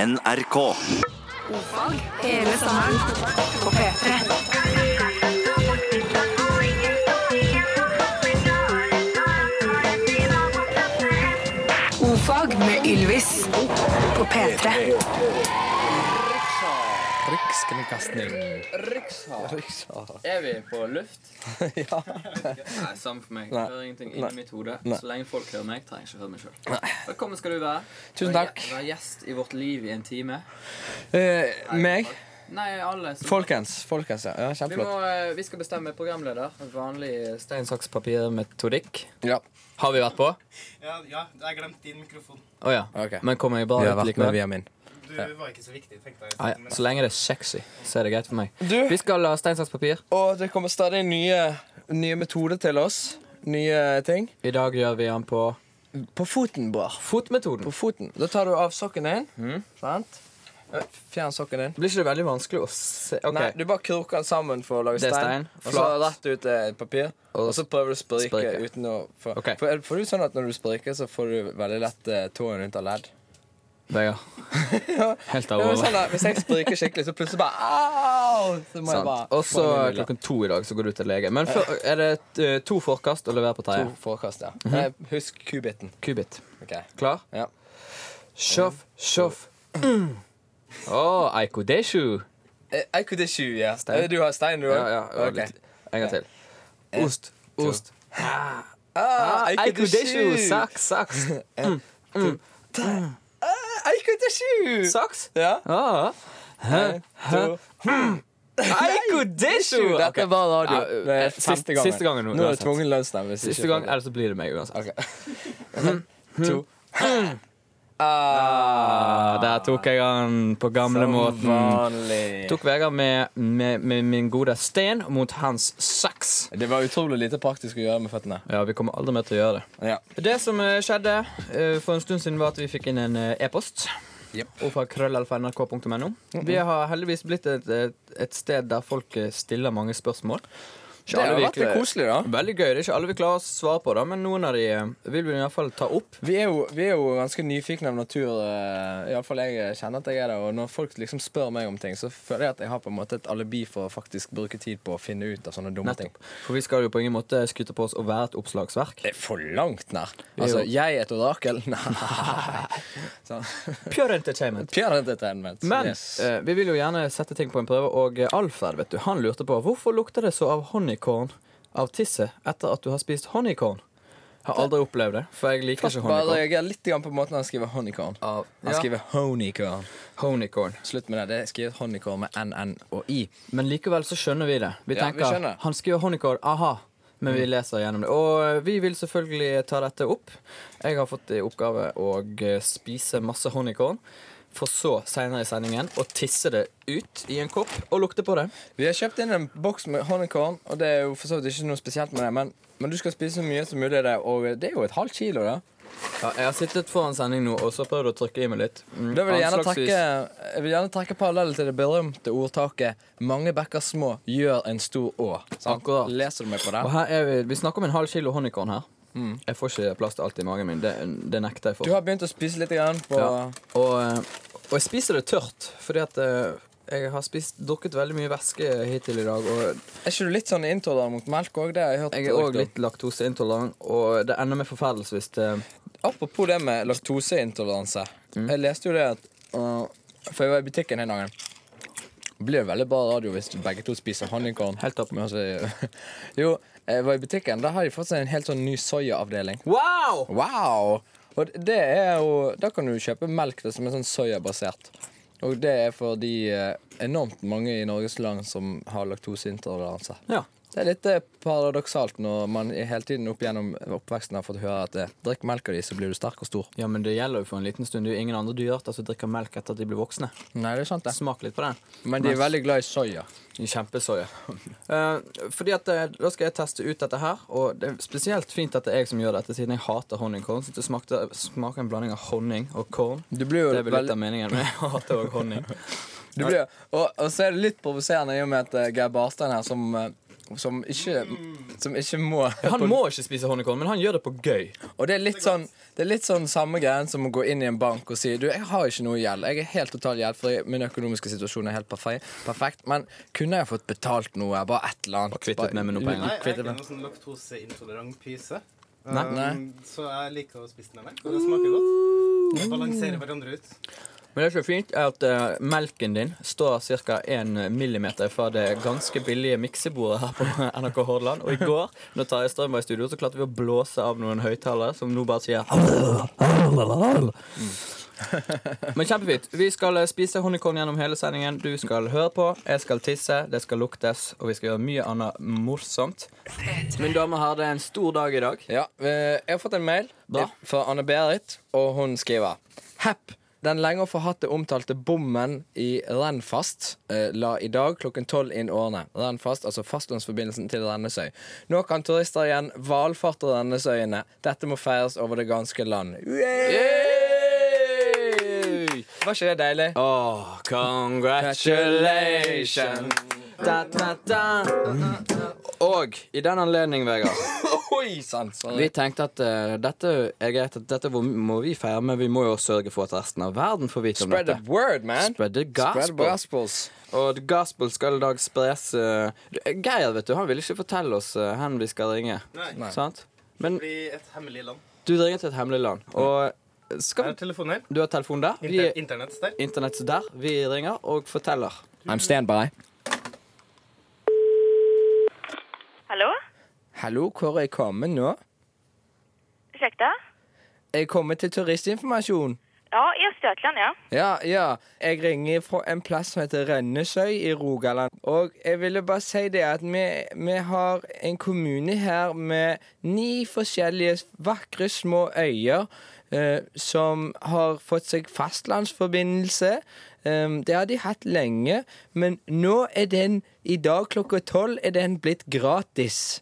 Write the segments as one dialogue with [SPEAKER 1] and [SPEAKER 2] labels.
[SPEAKER 1] NRK.
[SPEAKER 2] Hele sommeren på P3. Ofag med Ylvis på P3.
[SPEAKER 3] Rikskringkasting.
[SPEAKER 4] Er vi på luft?
[SPEAKER 3] ja.
[SPEAKER 4] Nei, samme for meg.
[SPEAKER 3] Nei.
[SPEAKER 4] Jeg hører ingenting inni
[SPEAKER 3] Nei.
[SPEAKER 4] mitt hode.
[SPEAKER 3] Nei.
[SPEAKER 4] Så lenge folk hører meg, trenger jeg ikke høre meg sjøl. Velkommen skal du være.
[SPEAKER 3] Tusen
[SPEAKER 4] Du er gje-
[SPEAKER 3] takk.
[SPEAKER 4] Du er gjest i Vårt Liv i en time.
[SPEAKER 3] Eh, meg?
[SPEAKER 4] Nei, alle. som-
[SPEAKER 3] Folkens. Folkens, ja. ja
[SPEAKER 4] Vi,
[SPEAKER 3] kjempeflott.
[SPEAKER 4] må, eh, vi skal bestemme programleder. Vanlig stein, saks, papir-metodikk.
[SPEAKER 3] Ja.
[SPEAKER 4] Har vi vært på?
[SPEAKER 5] Ja, ja, jeg glemte din mikrofon.
[SPEAKER 4] Å ja.
[SPEAKER 3] Ok.
[SPEAKER 4] Men kommer jeg bra
[SPEAKER 3] Vi har
[SPEAKER 4] ut
[SPEAKER 3] vært med
[SPEAKER 4] likevel?
[SPEAKER 3] via min.
[SPEAKER 5] Du var ikke så viktig, tenkte jeg.
[SPEAKER 4] Nei, så lenge det er sexy, så er det greit for meg.
[SPEAKER 3] Du-
[SPEAKER 4] Vi skal ha stein, saks, papir.
[SPEAKER 3] Og det kommer stadig nye, nye metoder til oss. Nye ting.
[SPEAKER 4] I dag gjør vi den på
[SPEAKER 3] På foten, bror. Mm.
[SPEAKER 4] fotmetoden.
[SPEAKER 3] På foten. Da tar du av sokken din. Sant? Eh, Fjern sokken din.
[SPEAKER 4] Blir ikke det veldig vanskelig å se? Ok.
[SPEAKER 3] Nei, du bare kroker den sammen for å lage
[SPEAKER 4] Det er stein.
[SPEAKER 3] stein. Og så
[SPEAKER 4] Flat.
[SPEAKER 3] rett ut eh, et papir. Og så prøver du å sprike
[SPEAKER 4] Sprike.
[SPEAKER 3] uten å få
[SPEAKER 4] Ok.
[SPEAKER 3] For er- Får du sånn at når du spriker, så får du veldig lett eh, tåen ut av ledd?
[SPEAKER 4] Vegard. Helt
[SPEAKER 3] Ja, men
[SPEAKER 4] alvorlig.
[SPEAKER 3] sånn da, hvis jeg spriker skikkelig, så plutselig bare Au! Så må jeg
[SPEAKER 4] Sant.
[SPEAKER 3] bare
[SPEAKER 4] Og så klokken to i dag så går du til lege. Men før, er det eh, to forkast å levere på
[SPEAKER 3] To
[SPEAKER 4] Terje?
[SPEAKER 3] forkast, ja. Eh, Husk kubiten.
[SPEAKER 4] Kubit.
[SPEAKER 3] Ok.
[SPEAKER 4] Mhm. Klar? Mm.
[SPEAKER 3] Ja.
[SPEAKER 4] Sjoff, sjoff. Å, oh, Aiko Deshu.
[SPEAKER 3] Eh, I could issue, ja. Eh, Du har stein, du
[SPEAKER 4] Ja,
[SPEAKER 3] òg?
[SPEAKER 4] ja. ja, litt. En gang til.
[SPEAKER 3] Eh,
[SPEAKER 4] Ost, ost.
[SPEAKER 3] Ah, I
[SPEAKER 4] Aiko
[SPEAKER 3] could
[SPEAKER 4] Deshu.
[SPEAKER 3] issue!
[SPEAKER 4] Saks, saks.
[SPEAKER 3] I could issue!
[SPEAKER 4] Saks?
[SPEAKER 3] Ah, Ja.
[SPEAKER 4] Ah.
[SPEAKER 3] To.
[SPEAKER 4] Aiko Deshu!
[SPEAKER 3] Dette
[SPEAKER 4] Ok.
[SPEAKER 3] var radio.
[SPEAKER 4] Ja,
[SPEAKER 3] Det er
[SPEAKER 4] sist-
[SPEAKER 3] femte gangen.
[SPEAKER 4] siste gangen nå,
[SPEAKER 3] Nå er det
[SPEAKER 4] uansett.
[SPEAKER 3] tvungen lønnsnemnd. hvis
[SPEAKER 4] Siste
[SPEAKER 3] ikke
[SPEAKER 4] gang, Mm.
[SPEAKER 3] får det.
[SPEAKER 4] eller så blir det meg uansett.
[SPEAKER 3] Ok. To.
[SPEAKER 4] Ah, der tok jeg han på
[SPEAKER 3] Sånn
[SPEAKER 4] gamlemåten.
[SPEAKER 3] Vanlig.
[SPEAKER 4] Tok Vegard med, med, med min gode stein mot hans saks.
[SPEAKER 3] Det var utrolig lite praktisk å gjøre med føttene.
[SPEAKER 4] Ja, vi kommer aldri mer til å gjøre det.
[SPEAKER 3] Ja.
[SPEAKER 4] Det som eh, skjedde eh, for en stund siden, var at vi fikk inn en eh, e-post.
[SPEAKER 3] Jep.
[SPEAKER 4] Og fra krøllalfa.nrk.no. Vi har heldigvis blitt et, et, et sted der folk eh, stiller mange spørsmål. Ikke
[SPEAKER 3] Det
[SPEAKER 4] alle
[SPEAKER 3] har
[SPEAKER 4] vi
[SPEAKER 3] vært litt
[SPEAKER 4] kla-
[SPEAKER 3] koselig, da.
[SPEAKER 4] Veldig gøy. Det er ikke alle vi klarer å svare på, da, men noen av de eh, vil vi i hvert fall ta opp.
[SPEAKER 3] Vi er, jo, vi er jo ganske nyfikne av natur. eh, i alle fall jeg kjenner at jeg er det. Og når folk liksom spør meg om ting, så føler jeg at jeg har på en måte et alibi for å faktisk bruke tid på å finne ut av sånne dumme
[SPEAKER 4] Nettopp.
[SPEAKER 3] ting.
[SPEAKER 4] For vi skal jo på ingen måte skryte på oss å være et oppslagsverk.
[SPEAKER 3] Det er for langt nær.
[SPEAKER 4] er
[SPEAKER 3] Altså,
[SPEAKER 4] jo-
[SPEAKER 3] jeg er et orakel. Nei. Sånn.
[SPEAKER 4] Pure entertainment.
[SPEAKER 3] Pure entertainment.
[SPEAKER 4] Men
[SPEAKER 3] Yes.
[SPEAKER 4] eh, vi vil jo gjerne sette ting på en prøve, og eh, Alfred vet du, han lurte på hvorfor lukter det så av honeycorn av tisset etter at du har spist honeycorn. Har aldri opplevd det, for jeg liker ikke
[SPEAKER 3] Bare
[SPEAKER 4] honeycorn.
[SPEAKER 3] reager litt grann på måten han skriver honeycorn.
[SPEAKER 4] Av,
[SPEAKER 3] Han skriver honeycorn.
[SPEAKER 4] honeycorn.
[SPEAKER 3] Slutt med det. Det er skrevet honeycorn med NN og I.
[SPEAKER 4] Men likevel så skjønner vi det. Vi
[SPEAKER 3] Ja, vi
[SPEAKER 4] tenker,
[SPEAKER 3] skjønner. Mm.
[SPEAKER 4] Han skriver honeycorn, aha. Men vi leser gjennom det. Og eh, vi vil selvfølgelig ta dette opp. Jeg har fått i oppgave å eh, spise masse honeycorn. For så seinere i sendingen å tisse det ut i en kopp og lukte på det.
[SPEAKER 3] Vi har kjøpt inn en boks med honeycorn, og det er jo for så vidt ikke noe spesielt med det, men, men du skal spise så mye som mulig av det, og det er jo et halvt kilo, da.
[SPEAKER 4] Ja, jeg har sittet foran sending nå og så prøvd å trykke i meg litt. Mm,
[SPEAKER 3] Da vil jeg gjerne
[SPEAKER 4] anslagsvis-
[SPEAKER 3] trekke, jeg vil gjerne trekke parallellen til det berømte ordtaket 'Mange bekker små gjør en stor å'. sant?
[SPEAKER 4] Akkurat.
[SPEAKER 3] Leser du meg på
[SPEAKER 4] Og
[SPEAKER 3] det?
[SPEAKER 4] her er vi, vi snakker om en halv kilo honeycorn her. Jeg får ikke plass til alt i magen min. Det, det nekter jeg for.
[SPEAKER 3] Mm. Du har begynt å spise litt grann på
[SPEAKER 4] ja. og, eh, og jeg spiser det tørt, fordi at eh, jeg har spist, drukket veldig mye væske hittil i dag. Og
[SPEAKER 3] Er ikke du litt sånn intolerant mot melk òg? Det har jeg hørt.
[SPEAKER 4] jeg er
[SPEAKER 3] rykte om.
[SPEAKER 4] òg litt laktoseintolerant, og det ender med forferdelse hvis det
[SPEAKER 3] Apropos det med laktoseintoleranse. Jeg leste jo det at øh, For jeg var i butikken en dag. Blir det veldig bra radio hvis begge to spiser honeycorn.
[SPEAKER 4] Helt opp.
[SPEAKER 3] Men altså, jo, jeg var i butikken. Da har de fått seg en helt sånn ny soyaavdeling.
[SPEAKER 4] Wow!
[SPEAKER 3] Wow! Og det er jo Da kan du kjøpe melk da, som er sånn soyabasert. Og det er for de eh, enormt mange i Norges land som har laktoseintoleranse.
[SPEAKER 4] Ja.
[SPEAKER 3] Det er litt eh, paradoksalt når man i hele tiden opp gjennom oppveksten har fått høre at eh, drikk melka di, så blir du sterk og stor.
[SPEAKER 4] ja, men det gjelder jo for en liten stund. Det er jo ingen andre dyrearter som drikker melk etter at de blir voksne.
[SPEAKER 3] Nei, det er sant det.
[SPEAKER 4] Smak litt på den.
[SPEAKER 3] Men de er veldig glad i soya.
[SPEAKER 4] Kjempesoya. Eh, fordi at eh, Da skal jeg teste ut dette her. Og det er spesielt fint at det er jeg som gjør dette, siden jeg hater honningkorn. Så det smakte, smaker en blanding av honning og korn.
[SPEAKER 3] Du blir jo
[SPEAKER 4] Det er vel litt
[SPEAKER 3] veldig-
[SPEAKER 4] av meningen, men jeg hater òg honning.
[SPEAKER 3] du blir, og, og så er det litt provoserende i og med at eh, Geir Barstein her, som eh, som ikke, som ikke må
[SPEAKER 4] Han må ikke spise honningkål, men han gjør det på gøy.
[SPEAKER 3] Og det er litt sånn, det er litt sånn samme greien som å gå inn i en bank og si Du, jeg har ikke noe gjeld. Jeg er helt totalt gjeldfri. Min økonomiske situasjon er helt perfekt. perfekt men kunne jeg fått betalt noe? Bare et eller annet.
[SPEAKER 4] Og kvittet
[SPEAKER 3] Bare-
[SPEAKER 4] meg med noe penger.
[SPEAKER 5] Nei, jeg er
[SPEAKER 3] Kvittet
[SPEAKER 5] ikke
[SPEAKER 3] meg.
[SPEAKER 5] noen sånn laktoseintolerant pyse.
[SPEAKER 4] Nei.
[SPEAKER 5] Um,
[SPEAKER 3] Nei.
[SPEAKER 5] Så jeg liker å spise den med melk, og det smaker godt.
[SPEAKER 3] Mm.
[SPEAKER 5] Vi balanserer hverandre ut.
[SPEAKER 4] Men det som er fint, er at eh, melken din står ca. 1 millimeter fra det ganske billige miksebordet her på NRK Hordaland. Og i går, når Tarjei Strøm var i studio, så klarte vi å blåse av noen høyttalere som nå bare sier Men kjempefint. Vi skal eh, spise honningkål gjennom hele sendingen. Du skal høre på, jeg skal tisse, det skal luktes, og vi skal gjøre mye annet morsomt. Mine damer og herrer, det er en stor dag i dag.
[SPEAKER 3] Ja, eh, jeg har fått en mail
[SPEAKER 4] Bra.
[SPEAKER 3] fra Anne-Berit, og hun skriver Hepp, den lenge og forhatte omtalte bommen i Rennfast eh, la i dag klokken tolv inn årene. Rennfast, altså fastlandsforbindelsen til Rennesøy. Nå kan turister igjen valfarte Rennesøyene. Dette må feires over det ganske land. Yay! Var ikke det deilig?
[SPEAKER 4] Oh, congratulations! Da, da, da. Og i den anledning, Vegard
[SPEAKER 3] Oi sann! sorry.
[SPEAKER 4] Vi tenkte at eh, dette er greit at dette må vi feire, men vi må jo sørge for at resten av verden får vite om
[SPEAKER 3] Spread the
[SPEAKER 4] dette.
[SPEAKER 3] word, man.
[SPEAKER 4] Spread the
[SPEAKER 3] Spread
[SPEAKER 4] gospel.
[SPEAKER 3] gospels.
[SPEAKER 4] Og the gospel skal i dag spres eh, Geir, vet du, han vil ikke fortelle oss uh, hvem vi skal ringe.
[SPEAKER 5] Nei.
[SPEAKER 4] Sant? Men
[SPEAKER 5] Bli et hemmelig land.
[SPEAKER 4] du ringer til et hemmelig land, og eh,
[SPEAKER 5] Jeg
[SPEAKER 4] skal
[SPEAKER 5] har telefon her.
[SPEAKER 4] Du har telefon der? Vi
[SPEAKER 5] Inter
[SPEAKER 4] er
[SPEAKER 5] Internett der.
[SPEAKER 4] internett der. Vi ringer og forteller.
[SPEAKER 3] I'm standby.
[SPEAKER 1] Hallo?
[SPEAKER 3] Hallo, hvor er jeg kommet nå?
[SPEAKER 1] Ursäkta?
[SPEAKER 3] Jeg kommer til turistinformasjon.
[SPEAKER 1] Ja, i Östergötland, ja.
[SPEAKER 3] Ja, ja. Jeg ringer fra en plass som heter Rønnesøy i Rogaland. Og jeg ville bare si det at vi, vi har en kommune her med ni forskjellige vakre små øyer eh, som har fått seg fastlandsforbindelse. Eh, det har de hatt lenge, men nå er den i dag klokka tolv er den blitt gratis.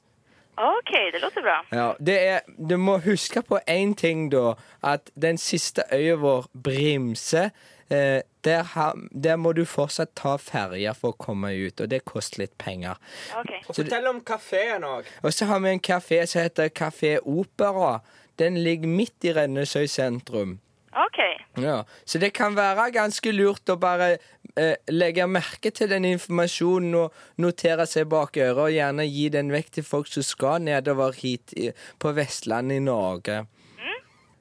[SPEAKER 1] Okej, det låter bra.
[SPEAKER 3] Ja, det er, Du må huske på én ting, da. At den siste øya vår, Brimse eh, der, ha, der må du fortsatt ta ferja for å komme ut, og det koster litt penger.
[SPEAKER 1] Okej.
[SPEAKER 4] Fortell om kafeen òg.
[SPEAKER 3] Og så har vi en kafé som heter Kafé Opera. Den ligger midt i Rennesøy sentrum.
[SPEAKER 1] Okej.
[SPEAKER 3] Ja, Så det kan være ganske lurt å bare eh, legge merke til den informasjonen og notere seg bak øret, og gjerne gi den vekk til folk som skal nedover hit i, på Vestlandet i Norge.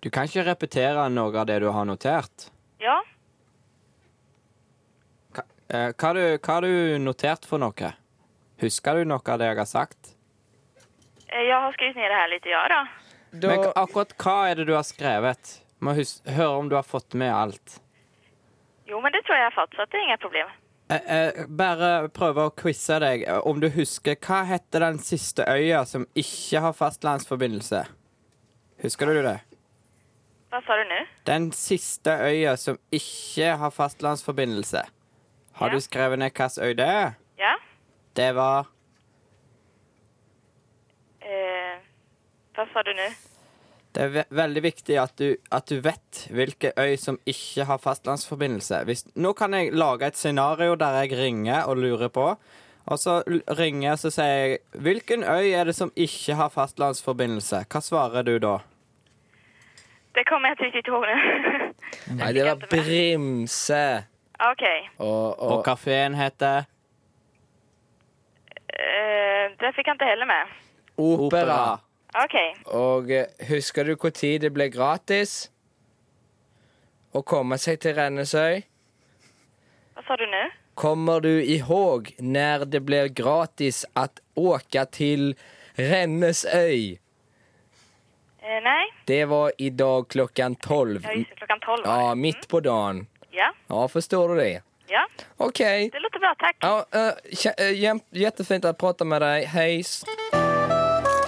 [SPEAKER 4] Du kan ikke repetere noe av det du har notert.
[SPEAKER 1] Ja.
[SPEAKER 4] Hva, eh, hva, har du, hva har du notert for noe? Husker du noe av det jeg har sagt?
[SPEAKER 1] Eh, Jag har skrivit ner det här lite, ja då.
[SPEAKER 3] Da,
[SPEAKER 4] Men akkurat hva er det du har skrevet? Må hus høre om du har fått med alt.
[SPEAKER 1] Jo, men det tror jeg jag har fått, så att det är inga problem.
[SPEAKER 4] Eh, eh, bare prøve å quize deg eh, om du husker hva heter den siste øya som ikke har fastlandsforbindelse? Husker du det?
[SPEAKER 1] Vad sa du nu?
[SPEAKER 4] Den siste øya som ikke har fastlandsforbindelse. Har
[SPEAKER 1] Ja.
[SPEAKER 4] du skrevet ned hvilken øy det er?
[SPEAKER 1] Ja.
[SPEAKER 4] Det var
[SPEAKER 1] Eh, vad sa du nu?
[SPEAKER 4] Det er ve veldig viktig at du, at du vet hvilke øy som ikke har fastlandsforbindelse. Hvis, nå kan jeg lage et scenario der jeg ringer og lurer på. Og så l- ringer jeg og sier jeg, Hvilken øy er det som ikke har fastlandsforbindelse? Hva svarer du da?
[SPEAKER 1] Det kommer jag inte riktigt ihåg nu.
[SPEAKER 3] nei, det var Brimse.
[SPEAKER 1] Okej.
[SPEAKER 3] Og,
[SPEAKER 4] Og
[SPEAKER 3] og,
[SPEAKER 4] kafeen heter
[SPEAKER 1] Eh, det fick jag inte heller med.
[SPEAKER 3] opera.
[SPEAKER 4] Opera.
[SPEAKER 1] Okej.
[SPEAKER 3] Og eh, husker du hvor tid det ble gratis å komme seg til Rennesøy?
[SPEAKER 1] Vad sa du nu?
[SPEAKER 3] Kommer du ihåg når det blir gratis at åka til Rennesøy?
[SPEAKER 1] Eh, nej.
[SPEAKER 3] Det var i dag klokken tolv.
[SPEAKER 1] Ja, just det. Klockan tolv var
[SPEAKER 3] Mm. Ja,
[SPEAKER 1] det.
[SPEAKER 3] midt på dagen.
[SPEAKER 1] Ja.
[SPEAKER 3] Ja, forstår du det?
[SPEAKER 1] Ja.
[SPEAKER 3] OK.
[SPEAKER 1] Det låter bra, tack.
[SPEAKER 3] Ja, eh, kje- eh, jäm- jättefint att prata med deg. Hei.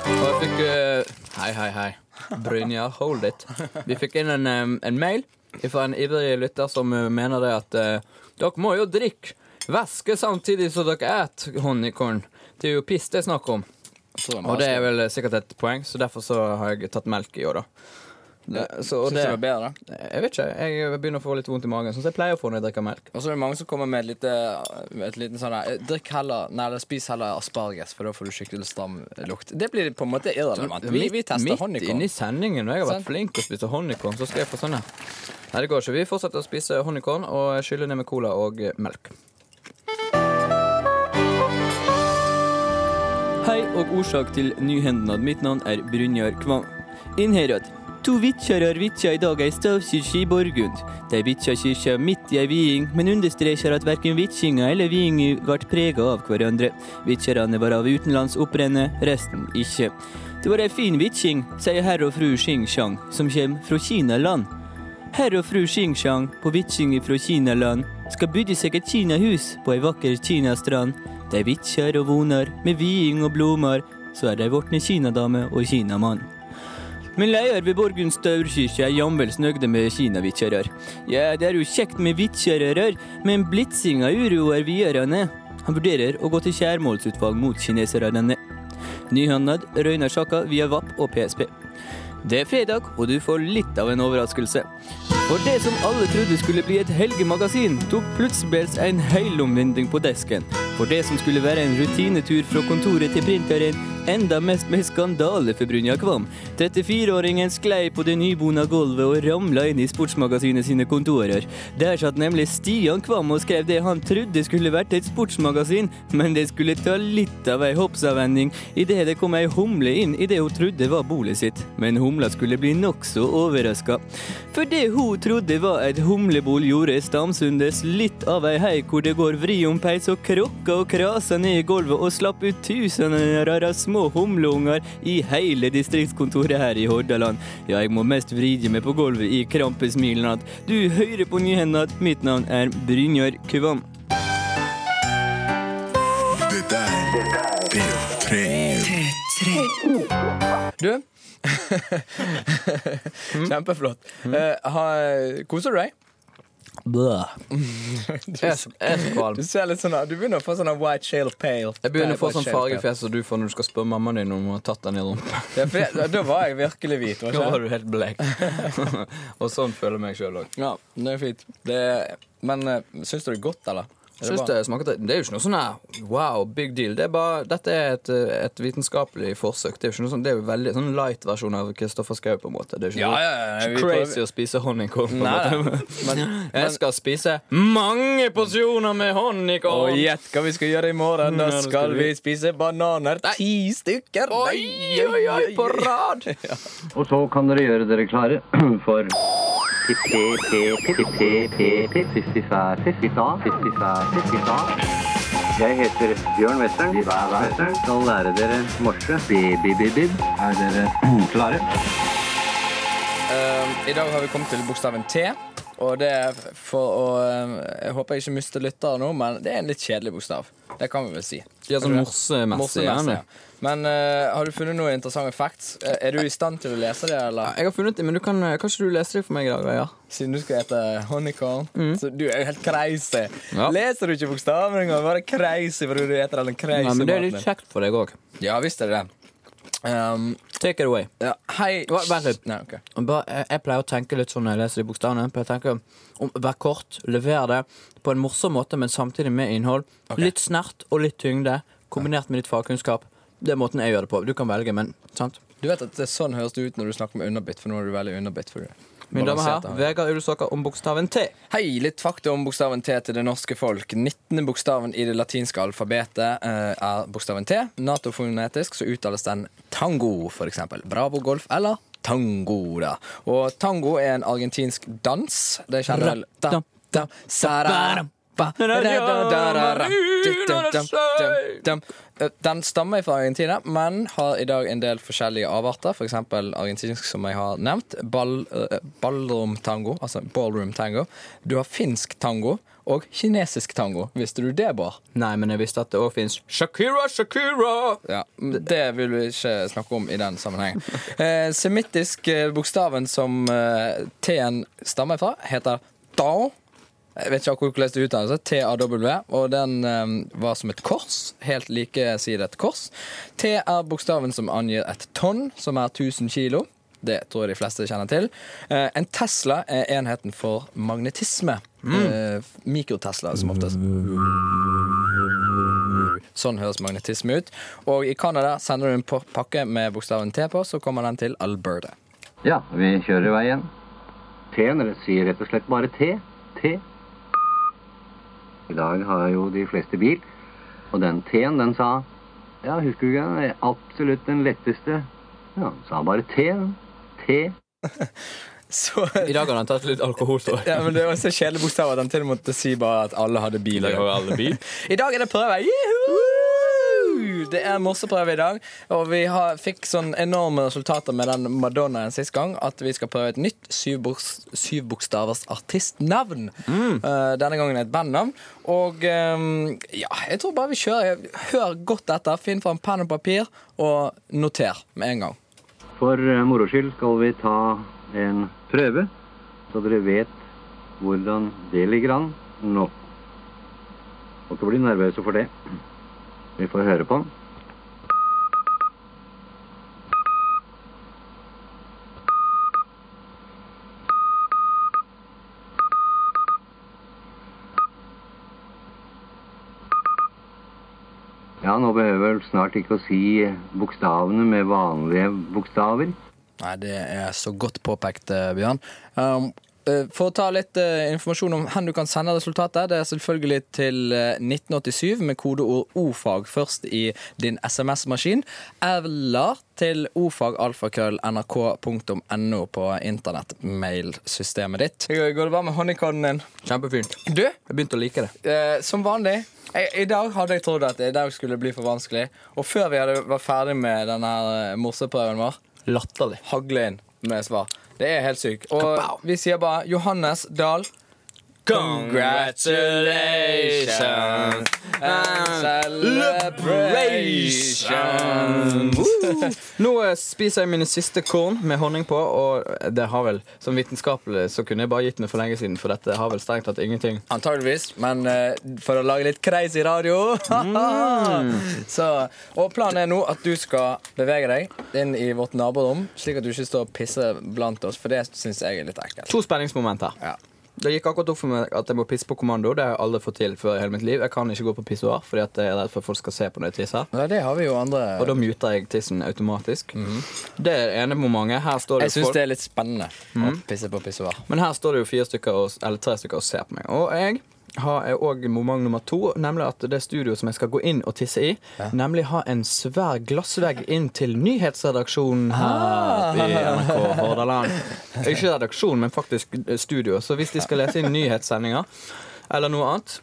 [SPEAKER 4] Og jeg fikk eh, Hei, hei, hei. Brynjar, hold it. Vi fikk inn en, eh, en mail fra en ivrig lytter som eh, mener det at eh, dere må jo drikke væske samtidig som dere et honningkorn. Det er jo piss det er snakk om. Og det er vel eh, sikkert et poeng, så derfor så har jeg tatt melk i år, da.
[SPEAKER 6] Det, så, og
[SPEAKER 3] Syns du
[SPEAKER 6] det,
[SPEAKER 3] det var bedre? da?
[SPEAKER 6] jeg vet ikke, jeg begynner å få litt vondt i magen, sånn som jeg pleier å få når jeg drikker melk.
[SPEAKER 7] Og så er det mange som kommer med et lite, et liten sånn her, Drikk heller, nei, eller spis heller asparges, for da får du skikkelig stram lukt. Det blir på en måte irrelevant. Vi, vi tester
[SPEAKER 6] midt
[SPEAKER 7] honeycomb.
[SPEAKER 6] inne i sendingen, og jeg har
[SPEAKER 7] Sant.
[SPEAKER 6] vært flink til å spise honeycomb, så skal jeg få sånn her. Nei, det går ikke. Vi fortsetter å spise honeycomb og skyller ned med cola og eh, melk.
[SPEAKER 4] Hei og årsak til nyhendnad. Mitt navn er Brynjar Kvam. Innherad. To vitjar har vitja i dag ei stavkirke i Borgund. Dei vitja kyrkja midt i ei viing, men understrekar at verken vitjinga eller viinga vart prega av hverandre. Vitjarane var av utenlands opprenne, resten ikkje. Det var ei fin vitjing, sier herr og fru Xing-Chang, som kjem frå Kinaland. Herr og fru Xing-Chang på Vitsing fra Kinaland skal bygge seg et kinahus på ei vakker kinastrand. De vitjer og vonar med viing og blomar, så er de vortne kinadame og kinamann. Men leier ved Borgund staurkirke er jamvel snøgde med kinavitjerar. Ja, det er jo kjekt med vitjerarar, men blitsinga uroer videre. Han vurderer å gå til kjærmålsutvalg mot kineserne. Nyhandlad røyner saka via VAP og PSP. Det er fredag, og du får litt av en overraskelse. For det som alle trodde skulle bli et helgemagasin, tok plutselig en helomvending på desken. For det som skulle være en rutinetur fra kontoret til printeren, enda mest med skandale for Brynja Kvam. 34-åringen sklei på det nybona gulvet og ramla inn i sportsmagasinet sine kontorer. Der satt nemlig Stian Kvam og skrev det han trodde skulle vært et sportsmagasin, men det skulle ta litt av ei hoppsavvending idet det kom ei humle inn i det hun trodde var bolet sitt. Men humla skulle bli nokså overraska. For det hun trodde var et humlebol, gjorde Stamsundes litt av ei hei hvor det går vriompeis og krokka og krasa ned i gulvet og slapp ut tusener av små humleunger i hele distriktskontoret her i Hordaland. Ja, jeg må mest vride meg på gulvet i krampesmilende at du hører på nyhendene at mitt navn er Brynjar Kvam.
[SPEAKER 8] Dette er P3.
[SPEAKER 9] P3.
[SPEAKER 3] Du?
[SPEAKER 4] Mm.
[SPEAKER 3] Kjempeflott. Eh, ha- koser du deg?
[SPEAKER 6] Jeg er så- jeg er så kvalm.
[SPEAKER 3] Du ser litt sånn Du begynner å få sånn white shale pale.
[SPEAKER 6] Jeg begynner å få
[SPEAKER 3] White
[SPEAKER 6] sånn
[SPEAKER 3] shale pale.
[SPEAKER 6] fargefjes som du får når du skal spørre mammaen din om hun har tatt den i rumpa.
[SPEAKER 3] Ja, for det- Da var jeg virkelig hvit. Var
[SPEAKER 6] Nå
[SPEAKER 3] ikke?
[SPEAKER 6] var
[SPEAKER 3] jeg?
[SPEAKER 6] du helt blek. og sånn føler jeg meg sjøl òg.
[SPEAKER 3] Ja, det er fint. Det, men uh, syns du det er godt, eller? Er det
[SPEAKER 6] Syns
[SPEAKER 3] bra?
[SPEAKER 6] det, smaker, det er jo ikke noe sånn her wow, big deal. Det er bare, dette er et, eh, et vitenskapelig forsøk. Det er jo ikke noe sånn, det er jo veldig sånn light versjon av Kristoffer Schou, på en måte. Det er ikke
[SPEAKER 3] Ja,
[SPEAKER 6] noe-
[SPEAKER 3] ja, ja,
[SPEAKER 6] ikke
[SPEAKER 3] vi
[SPEAKER 6] crazy
[SPEAKER 3] prøver-
[SPEAKER 6] å spise honningkorn. på en
[SPEAKER 3] Nei,
[SPEAKER 6] måte.
[SPEAKER 3] men,
[SPEAKER 6] Jeg skal spise mange porsjoner med
[SPEAKER 3] og
[SPEAKER 6] honningkorn!
[SPEAKER 3] gjett hva vi skal gjøre i morgen.
[SPEAKER 6] Nei,
[SPEAKER 3] Da
[SPEAKER 6] det skal
[SPEAKER 3] skal vi
[SPEAKER 6] vi.
[SPEAKER 3] spise bananer. Ti stykker!
[SPEAKER 6] Oi, oi, oi, på rad!
[SPEAKER 10] Og så kan dere gjøre dere klare for jeg heter Bjørn Western. Western. Skal lære dere morse. Bi-bi-bi-bib. Er dere klare?
[SPEAKER 3] Eh, I dag har vi kommet til bokstaven T. Og det er for å eh, Jeg håper jeg ikke mister lyttere nå, men det er en litt kjedelig bokstav. Det kan vi vel si.
[SPEAKER 6] Ja, sånn morsemessig.
[SPEAKER 3] Morsemessig,
[SPEAKER 6] gjerne.
[SPEAKER 3] ja. Men eh, har du funnet noen interessante facts? Eh, er du i stand til å lese det,
[SPEAKER 6] Ja,
[SPEAKER 3] eller?
[SPEAKER 6] Jeg har funnet det, men du kan, kan ikke du lese det for meg i dag? Ja?
[SPEAKER 3] Siden du skal hete Honeycomb. Så du er jo helt crazy.
[SPEAKER 6] Mm. Ja.
[SPEAKER 3] Leser du ikke bokstaven engang? Bare crazy fordi du heter den crazy
[SPEAKER 6] Nei, men det er litt
[SPEAKER 3] maten din.
[SPEAKER 6] kjekt for deg òg.
[SPEAKER 3] Ja visst er det det. Um,
[SPEAKER 6] Take it away.
[SPEAKER 3] ja, hei
[SPEAKER 6] Hva- vent litt.
[SPEAKER 3] Nei, ok.
[SPEAKER 6] Bare, eh, jeg, jeg pleier å tenke litt sånn når jeg leser de bokstavene. Jeg pleier å tenke om Vær kort, lever det på en morsom måte, men samtidig med innhold. Litt snert og litt tyngde, kombinert med litt fagkunnskap. Det er måten jeg gjør det på. Du kan velge, men sant?
[SPEAKER 3] Du vet at det, Sånn høres det ut når du snakker med underbitt, for nå er du veldig underbitt. for du-
[SPEAKER 6] Mine damer og
[SPEAKER 3] Balansert,
[SPEAKER 6] herrer,
[SPEAKER 3] da.
[SPEAKER 6] Vegard Ulsåker om bokstaven T.
[SPEAKER 3] Hei, litt fakta om bokstaven T til det norske folk. 19. bokstaven i det latinske alfabetet eh, er bokstaven T. Natofonetisk så uttales den tango, for eksempel. Bravo golf eller tango, da. Og tango er en argentinsk dans. Det kjenner vel da, da, sara, ba, da, da, da, da, da, da, di, dum, dum, dum, dum. Eh, Den stammer fra Argentina, men har i dag en del forskjellige avarter. F.eks. eksempel argentinsk, som jeg har nevnt. Ball, eh, ballroom tango, altså ballroom tango. Du har finsk tango og kinesisk tango. Visste du det, Bård?
[SPEAKER 6] Nei, men jeg visste at det òg fins Shakira, Shakira!
[SPEAKER 3] Ja, men Det vil vi ikke snakke om i den sammenhengen. Eh, semittisk eh, bokstaven som eh, T-en stammer fra, heter tao. Jeg vet ikke akkurat hvordan det uttales. T-A-W. Og den eh, var som et kors. Helt likesidet kors. T er bokstaven som angir et tonn, som er 1000 kilo. Det tror jeg de fleste kjenner til. Eh, en Tesla er enheten for magnetisme.
[SPEAKER 6] Mm.
[SPEAKER 3] Eh, Mikrotesla, som oftest. Sånn høres magnetisme ut. Og i Canada sender du en pa- pakke med bokstaven T på, så kommer den til Alberta.
[SPEAKER 11] Ja, vi kjører i veien. T-en re- sier rett og slett bare T. T. I dag har jo de fleste bil, og den T-en, den sa Ja, husker du ikke den? Absolutt den letteste. Ja, den sa bare T. T.
[SPEAKER 3] Så
[SPEAKER 4] I dag har han tatt litt alkohol. tror jeg.
[SPEAKER 3] ja, men Det var så kjedelig bokstav at han til og med måtte si bare at alle hadde bil.
[SPEAKER 4] I dag har alle bil.
[SPEAKER 3] I dag er det prøve. Juhu! Det er morseprøve i dag, og vi har, fikk sånn enorme resultater med den Madonnaen sist gang at vi skal prøve et nytt syvboks- syvbokstavers artistnavn.
[SPEAKER 4] Mm.
[SPEAKER 3] Eh, denne gangen et bandnavn. Og eh, ja, jeg tror bare vi kjører. Hør godt etter. Finn fram penn og papir, og noter med en gang.
[SPEAKER 11] For eh, moro skyld skal vi ta en prøve, så dere vet hvordan det ligger an nå. Må ikke bli nervøse for det. Vi får høre på den. Ja, nå behøver jeg vel snart ikke å si bokstavene med vanlige bokstaver.
[SPEAKER 3] Nei, det er så godt påpekt, eh, Bjørn. Um, eh, for å ta litt eh, informasjon om hvor du kan sende resultatet, det er selvfølgelig til eh, 1987 med kodeord ofag først i din SMS-maskin, eller til ofagalfakrøll.nrk.no på internettmailsystemet ditt. Går det bra med honeyconen din?
[SPEAKER 4] Kjempefint.
[SPEAKER 3] Du,
[SPEAKER 4] Jeg begynte å like det.
[SPEAKER 3] Eh, som vanlig. Jeg, I dag hadde jeg trodd at i dag skulle bli for vanskelig. Og før vi hadde, var ferdig med denne eh, morseprøven vår,
[SPEAKER 4] Latterlig.
[SPEAKER 3] hagle inn med svar. Det er helt sykt. Og vi sier bare Johannes Dahl.
[SPEAKER 4] Congratulations Woo! Nå eh, spiser jeg mine siste korn med honning på, og det har vel som vitenskapelig så kunne jeg bare gitt meg for lenge siden, for dette har vel strengt tatt ingenting.
[SPEAKER 3] Antageligvis, men eh, for å lage litt crazy radio Så, Og planen er nå at du skal bevege deg inn i vårt naborom, slik at du ikke står og pisser blant oss, for det syns jeg er litt ekkelt.
[SPEAKER 4] To spenningsmoment her.
[SPEAKER 3] Ja.
[SPEAKER 4] Det gikk akkurat opp for meg at jeg må pisse på kommando. Det har jeg aldri fått til før i hele mitt liv. Jeg kan ikke gå på pissoar fordi at jeg er redd for at folk skal se på når jeg tisser.
[SPEAKER 3] Ja, det har vi jo andre
[SPEAKER 4] Og da muter jeg tissen automatisk. Det er det ene momentet. Her står det
[SPEAKER 3] Mhm.
[SPEAKER 4] jo
[SPEAKER 3] Jeg syns
[SPEAKER 4] folk
[SPEAKER 3] det er litt spennende å pisse på pissoar.
[SPEAKER 4] Men her står det jo fire stykker og, eller tre stykker og ser på meg. Og jeg har òg moment nummer to, nemlig at det studioet som jeg skal gå inn og tisse i, nemlig ha en svær glassvegg inn til nyhetsredaksjonen her i NRK Hordaland. Ikke redaksjon, men faktisk studio. Så hvis de skal lese inn nyhetssendinger eller noe annet,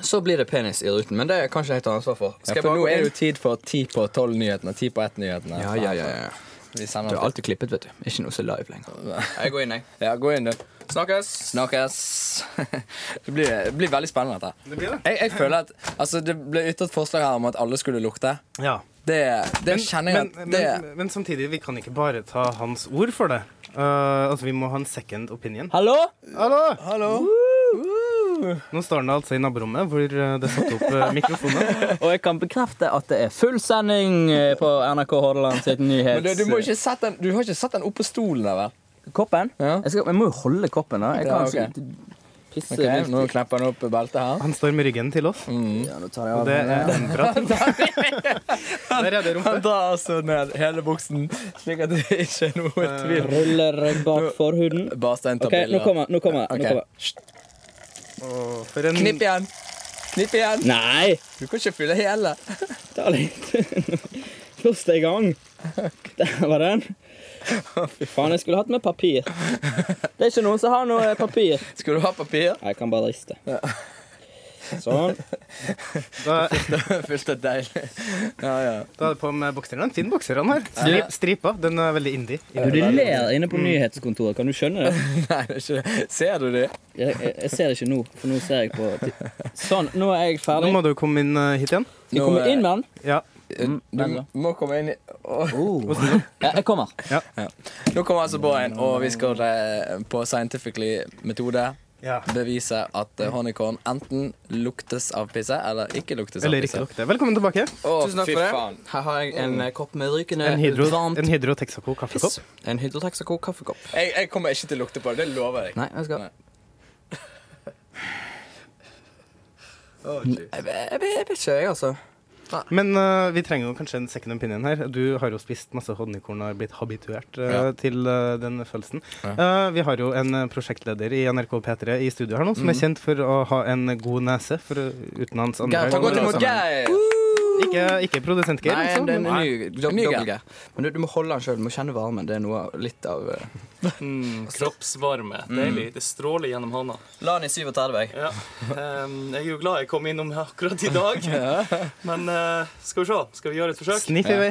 [SPEAKER 4] så blir det penis i ruten. Men det kan ikke jeg ta ansvar for.
[SPEAKER 3] Ja,
[SPEAKER 4] Skal jeg
[SPEAKER 3] for
[SPEAKER 4] bare
[SPEAKER 3] nå
[SPEAKER 4] gå
[SPEAKER 3] er det
[SPEAKER 4] inn?
[SPEAKER 3] jo tid for ti på tolv-nyhetene. Ti på ett-nyhetene.
[SPEAKER 4] Ja, ja, ja, ja.
[SPEAKER 3] Vi sender
[SPEAKER 4] Du
[SPEAKER 3] den
[SPEAKER 4] er alltid klippet, vet du. Ikke noe så live lenger. Jeg går inn, jeg.
[SPEAKER 3] til- Ja, gå inn, du.
[SPEAKER 4] Snakkes.
[SPEAKER 3] Snakkes. Det blir, det blir veldig spennende, dette.
[SPEAKER 5] Det blir det.
[SPEAKER 3] Jeg, jeg føler at altså, Det ble ytret forslag her om at alle skulle lukte.
[SPEAKER 5] Ja.
[SPEAKER 3] Det, det kjenner jeg
[SPEAKER 5] Men,
[SPEAKER 3] at
[SPEAKER 5] men,
[SPEAKER 3] det,
[SPEAKER 5] men, men samtidig, vi kan ikke bare ta hans ord for det. Eh, altså, Vi må ha en second opinion.
[SPEAKER 4] Hallo?
[SPEAKER 5] Hallo! Nå står han altså i naborommet, hvor eh, det er satt opp eh, mikrofoner.
[SPEAKER 12] Og jeg kan bekrefte at det er full sending eh, på NRK Hordaland sitt
[SPEAKER 3] Men du,
[SPEAKER 12] nyhets...
[SPEAKER 3] du, må ikke sette den, du har ikke satt den opp på stolen der, vel?
[SPEAKER 12] Koppen?
[SPEAKER 3] Ja.
[SPEAKER 12] Jeg, skal, jeg må jo holde koppen. Da. Jeg
[SPEAKER 3] Ja,
[SPEAKER 12] kan
[SPEAKER 3] ok.
[SPEAKER 12] ikke pisse
[SPEAKER 3] Ok,
[SPEAKER 12] litt.
[SPEAKER 3] Nå knepper den opp beltet her.
[SPEAKER 5] Han står med ryggen til oss, og
[SPEAKER 12] Ja, nå tar jeg av.
[SPEAKER 5] det er en bra ting. Der er det
[SPEAKER 3] Han
[SPEAKER 5] rumpe.
[SPEAKER 3] drar altså ned hele buksen, slik at det ikke er noe tvil.
[SPEAKER 12] Ruller jeg bak forhuden.
[SPEAKER 3] Eh, Barstein tar
[SPEAKER 12] Ok, nå
[SPEAKER 3] bilder.
[SPEAKER 12] kommer nå kommer,
[SPEAKER 3] Ok.
[SPEAKER 12] nå kommer
[SPEAKER 5] Og for en
[SPEAKER 3] Knipp igjen. Knipp igjen.
[SPEAKER 12] Nei!
[SPEAKER 3] Du kan ikke fylle hele.
[SPEAKER 12] Ta litt. Først er i gang. Der var den. Fy faen, jeg skulle hatt med papir. Det er ikke noen som har noe eh, papir.
[SPEAKER 3] Skal du ha papir?
[SPEAKER 12] Nei, Jeg kan bare riste. Sånn.
[SPEAKER 5] Da,
[SPEAKER 3] Fylt det deilig. Ja, ja.
[SPEAKER 5] da er det på med bokser. En fin bokser han har. Stri, stripa. Den er veldig indie.
[SPEAKER 12] Du, de ler inne på nyhetskontoret. Kan du skjønne det?
[SPEAKER 3] Nei, det er ikke det. Ser du det?
[SPEAKER 12] Jeg, jeg, jeg ser det ikke nå, for nå ser jeg på ti- Sånn, nå er jeg
[SPEAKER 5] Nå
[SPEAKER 12] ferdig.
[SPEAKER 5] må du komme inn eh, hit igjen.
[SPEAKER 12] Skal jeg komme inn med den?
[SPEAKER 5] Ja.
[SPEAKER 3] Du må komme inn i Åh.
[SPEAKER 12] Ja, jeg kommer.
[SPEAKER 3] Nå kommer altså Båren, og vi skal eh, på Scientifically metode.
[SPEAKER 5] Ja.
[SPEAKER 3] bevise at eh, honeycorn enten luktes av pisse eller ikke luktes av
[SPEAKER 5] Eller ikke
[SPEAKER 3] pisse.
[SPEAKER 5] lukte. Velkommen tilbake.
[SPEAKER 4] Tusen takk for det. Her har jeg en
[SPEAKER 3] Mm.
[SPEAKER 4] eh, kopp med rykende
[SPEAKER 5] En hydro,
[SPEAKER 4] varmt
[SPEAKER 5] en hydro Texaco kaffekopp.
[SPEAKER 4] piss. En hydrotaxaco kaffekopp.
[SPEAKER 3] Jeg, jeg kommer ikke til å lukte på det. Det lover jeg.
[SPEAKER 4] Nei, jeg skal
[SPEAKER 3] Nei.
[SPEAKER 4] Nei, jeg, vet- jeg, vet- jeg vet ikke, jeg, altså.
[SPEAKER 5] Men eh, vi trenger jo kanskje en second opinion her. Du har jo spist masse honningkorn og har blitt habituert eh, til eh, den følelsen. Eh, vi har jo en eh, prosjektleder i NRK P3 i studio her nå, som er
[SPEAKER 4] Mm.
[SPEAKER 5] kjent for å ha en god nese, for å- uten hans andre
[SPEAKER 4] Geir,
[SPEAKER 5] Altså,
[SPEAKER 4] ta godt imot
[SPEAKER 3] Geir!
[SPEAKER 5] Ikke, ikke produsent Geir,
[SPEAKER 4] Nei,
[SPEAKER 5] altså.
[SPEAKER 4] det er
[SPEAKER 5] men-
[SPEAKER 4] ny, do,
[SPEAKER 3] Myk, ja.
[SPEAKER 4] dobbel G. Men du, du må holde den sjøl. Du må kjenne varmen. Det er noe av- litt av eh,
[SPEAKER 13] Mm, kroppsvarme. Deilig. Det stråler gjennom hånda.
[SPEAKER 4] La den i 37, jeg.
[SPEAKER 13] Ja. Ehm, jeg er jo glad jeg kom innom her akkurat i dag. Men eh, skal vi se. Skal vi gjøre et forsøk?
[SPEAKER 5] Sniff i vei.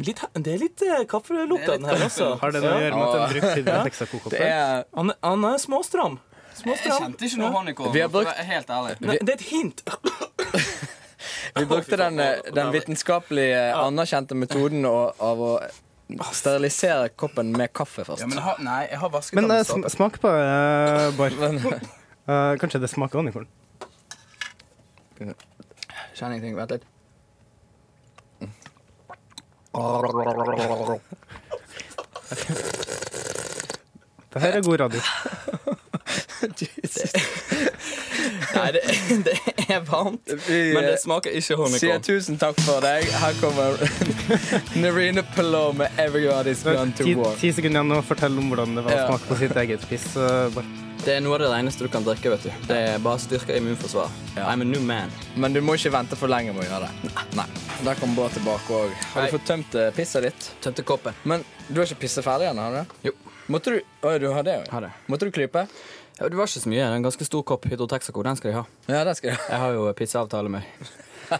[SPEAKER 13] Litt, he- det er litt eh, kaffelukt av den her også.
[SPEAKER 5] Har det noe å gjøre med at den brukte hydro Texaco-koppen?
[SPEAKER 4] Eh,
[SPEAKER 13] Han, er- han er småstram. Småstram.
[SPEAKER 4] ikke noe honeycomb.
[SPEAKER 3] Vi har brukt-
[SPEAKER 4] Helt ærlig.
[SPEAKER 13] Nei, det er et hint.
[SPEAKER 3] Vi brukte den, eh, den vitenskapelig eh, anerkjente metoden å- av å sterilisere koppen med kaffe først.
[SPEAKER 4] Ja, men jeg har, nei, jeg har vasket
[SPEAKER 5] Men
[SPEAKER 4] den.
[SPEAKER 5] eh,
[SPEAKER 4] med
[SPEAKER 5] sm
[SPEAKER 4] såpe.
[SPEAKER 5] smak på uh, Bård. Eh, kanskje det smaker honningkorn.
[SPEAKER 4] Kjenner ingenting. Vent litt.
[SPEAKER 5] Det her er god radio.
[SPEAKER 4] Nei, det, det er varmt.
[SPEAKER 3] Vi,
[SPEAKER 4] Men det
[SPEAKER 3] eh,
[SPEAKER 4] smaker ikke
[SPEAKER 3] sier
[SPEAKER 4] honeycomb.
[SPEAKER 3] tusen takk for deg. Her kommer Nerina Pelot med 'Everybody's
[SPEAKER 5] Du har
[SPEAKER 3] Gone to
[SPEAKER 5] ti,
[SPEAKER 3] War'.
[SPEAKER 5] ti sekunder igjen å fortelle om hvordan det var å
[SPEAKER 3] Ja.
[SPEAKER 5] smake på sitt eget piss. eh, Bård.
[SPEAKER 4] Det er noe av det eneste du kan drikke. vet du Det er bare styrker immunforsvaret. I'm a new man.
[SPEAKER 3] Men du må ikke vente for lenge med å gjøre det. Nei. Der kommer Bård tilbake òg. Har du fått tømt eh, pisset ditt?
[SPEAKER 4] Tømte koppen.
[SPEAKER 3] Men du har ikke pisset ferdig ennå, har du? det?
[SPEAKER 4] Jo.
[SPEAKER 3] Måtte du Oi, du har det
[SPEAKER 4] Har
[SPEAKER 3] òg?
[SPEAKER 4] det.
[SPEAKER 3] Måtte du klype?
[SPEAKER 4] Ja, det var ikke så mye. Det er en ganske stor kopp Hydro Texaco. Den skal jeg ha.
[SPEAKER 3] Ja, det skal jeg
[SPEAKER 4] Jeg har jo pizzaavtale med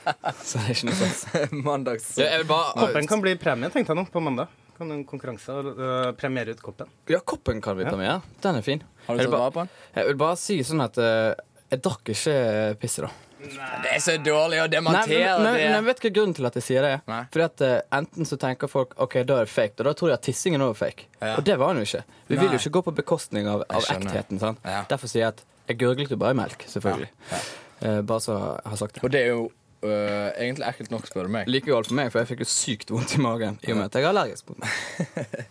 [SPEAKER 4] Så det er ikke noe stress.
[SPEAKER 3] ha. Mandags...
[SPEAKER 4] Ja, jeg vil bare
[SPEAKER 5] Koppen kan bli premie, tenkte jeg nå, på mandag. Kan en konkurranse eh, premiere ut koppen?
[SPEAKER 4] Ja, koppen kan vi ta med. Ja. Den er fin.
[SPEAKER 3] Har du
[SPEAKER 4] Jeg vil
[SPEAKER 3] tatt
[SPEAKER 4] bare-
[SPEAKER 3] vare på den?
[SPEAKER 4] Jeg vil bare si sånn at eh, jeg drakk ikke eh, pisset, da.
[SPEAKER 3] Det er så dårlig å
[SPEAKER 4] Nei, men,
[SPEAKER 3] demontere
[SPEAKER 4] men,
[SPEAKER 3] det.
[SPEAKER 4] men jeg vet hva grunnen til at jeg sier det er.
[SPEAKER 3] Nei.
[SPEAKER 4] Fordi at eh, Enten så tenker folk ok, da er det fake, og da tror de at tissingen også er fake. Og det var den jo ikke. Vi vil
[SPEAKER 3] Nei.
[SPEAKER 4] jo ikke gå på bekostning av, av
[SPEAKER 3] skjønner.
[SPEAKER 4] ektheten. Sant?
[SPEAKER 3] Ja.
[SPEAKER 4] Derfor sier jeg at jeg gurglet jo bare i melk, selvfølgelig. Eh, bare så jeg har sagt det.
[SPEAKER 3] Og det er jo øh, egentlig ekkelt nok, spør du meg.
[SPEAKER 4] Like galt for meg, for jeg fikk jo sykt vondt i magen i og med at jeg er allergisk mot melk.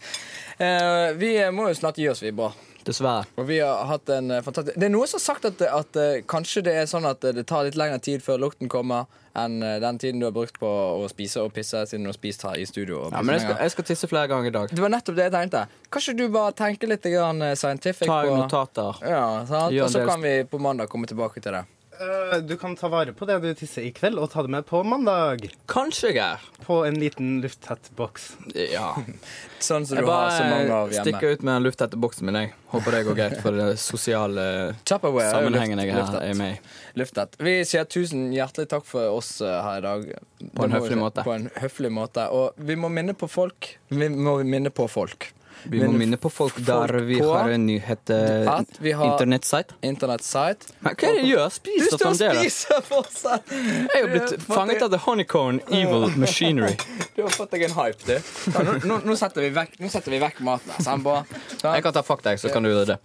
[SPEAKER 3] Eh, vi må jo snart gi oss, vi, bra.
[SPEAKER 4] Dessverre.
[SPEAKER 3] Og vi har hatt en eh, fantastisk Det er noen som har sagt at, at eh, kanskje det er sånn at eh, det tar litt lengre tid før lukten kommer enn eh, den tiden du har brukt på å spise og pisse siden du har spist her i studio. Og
[SPEAKER 4] Ja, men jeg
[SPEAKER 3] pissemenger.
[SPEAKER 4] skal, jeg skal tisse flere ganger i dag.
[SPEAKER 3] Det var nettopp det jeg tenkte. Kanskje du bare tenker litt grann eh, scientific
[SPEAKER 4] Ta
[SPEAKER 3] på
[SPEAKER 4] notater.
[SPEAKER 3] Ja, sant?
[SPEAKER 4] Gjør en
[SPEAKER 3] Og så
[SPEAKER 4] del-
[SPEAKER 3] kan vi på mandag komme tilbake til det.
[SPEAKER 5] Eh, du kan ta vare på det du tisser i kveld, og ta det med på mandag.
[SPEAKER 4] Kanskje jeg er
[SPEAKER 5] På en liten lufttett boks.
[SPEAKER 4] Ja.
[SPEAKER 3] Sånn som
[SPEAKER 4] Jeg
[SPEAKER 3] du har så mange
[SPEAKER 4] bare
[SPEAKER 3] av hjemme.
[SPEAKER 4] stikker ut med den lufttette boksen min, jeg. Håper det går greit for den sosiale
[SPEAKER 3] Tupperware er jo
[SPEAKER 4] sammenhengen jeg
[SPEAKER 3] luft-
[SPEAKER 4] er er med i.
[SPEAKER 3] Luftet. Vi sier tusen hjertelig takk for oss eh, her i dag.
[SPEAKER 4] På en
[SPEAKER 3] Det må
[SPEAKER 4] høflig
[SPEAKER 3] vi-
[SPEAKER 4] måte.
[SPEAKER 3] På en høflig måte. Og vi må minne på folk. Vi må minne på folk.
[SPEAKER 4] Vi må
[SPEAKER 3] Men
[SPEAKER 4] minne på folk der
[SPEAKER 3] folk
[SPEAKER 4] vi
[SPEAKER 3] på
[SPEAKER 4] har en nyhet eh,
[SPEAKER 3] at vi har-
[SPEAKER 4] Internettsite.
[SPEAKER 3] Internettsite.
[SPEAKER 4] Men Hva er det du gjør?
[SPEAKER 3] Du
[SPEAKER 4] Spiser
[SPEAKER 3] står og
[SPEAKER 4] fremdeles?
[SPEAKER 3] spiser fortsatt!
[SPEAKER 4] Jeg har blitt fanget av the honeycorn evil machinery.
[SPEAKER 3] Du har fått deg en hype, du. Ja, nå, nå, nå, setter vi vekk, nå setter vi vekk maten. her, sant, Bård? Sant?
[SPEAKER 4] Jeg kan ta fakta, jeg, så kan du gjøre det.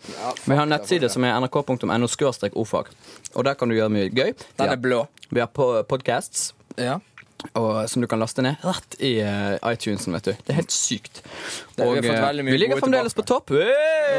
[SPEAKER 4] Vi har en nettside som er nrk.no-ofag, og der kan du gjøre mye gøy. Vi
[SPEAKER 3] Den er
[SPEAKER 4] har-
[SPEAKER 3] blå.
[SPEAKER 4] Vi har po- podcasts.
[SPEAKER 3] Ja.
[SPEAKER 4] og, eh, som du kan laste ned rett i eh, iTunesen. vet du Det er helt sykt.
[SPEAKER 3] Det- vi har
[SPEAKER 4] Og,
[SPEAKER 3] fått
[SPEAKER 4] eh,
[SPEAKER 3] veldig mye
[SPEAKER 4] vi ligger
[SPEAKER 3] gode
[SPEAKER 4] fremdeles på topp. Hey!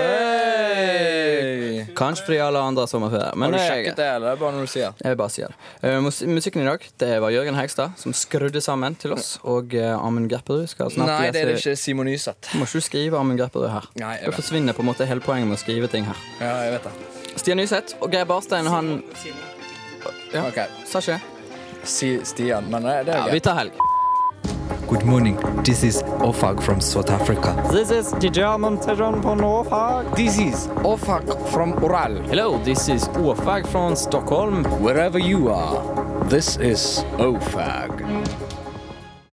[SPEAKER 3] Hey!
[SPEAKER 4] Kanskje fordi alle andre har sommerferie. Men
[SPEAKER 3] Har du
[SPEAKER 4] det er
[SPEAKER 3] sjekket det, eller er det bare noe du sier?
[SPEAKER 4] jeg vil bare si det. Eh, mus musikken i dag det var Jørgen Hegstad som skrudde sammen til oss. Og eh, Amund Grepperud skal snart
[SPEAKER 3] Nei, det er det
[SPEAKER 4] lese-
[SPEAKER 3] ikke Simon Nyseth.
[SPEAKER 4] Må ikke du skrive Amund Grepperud her.
[SPEAKER 3] Nei,
[SPEAKER 4] Da
[SPEAKER 3] jeg vet.
[SPEAKER 4] forsvinner på en måte hele poenget med å skrive ting her.
[SPEAKER 3] Ja, jeg vet det.
[SPEAKER 4] Stian Nyseth og Geir Barstein han ja.
[SPEAKER 3] Ok,
[SPEAKER 4] Sa ikke jeg?
[SPEAKER 3] Si Stian, men eh, det
[SPEAKER 4] Ja,
[SPEAKER 3] er
[SPEAKER 4] vi
[SPEAKER 3] greit.
[SPEAKER 4] tar helg.
[SPEAKER 3] Good morning. This is Ofag from South Africa.
[SPEAKER 14] This is the German session for Norfolk.
[SPEAKER 3] This is Ofak from Ural.
[SPEAKER 4] Hello, this is Åfag fra Stockholm.
[SPEAKER 3] Wherever you are, this is Ofag.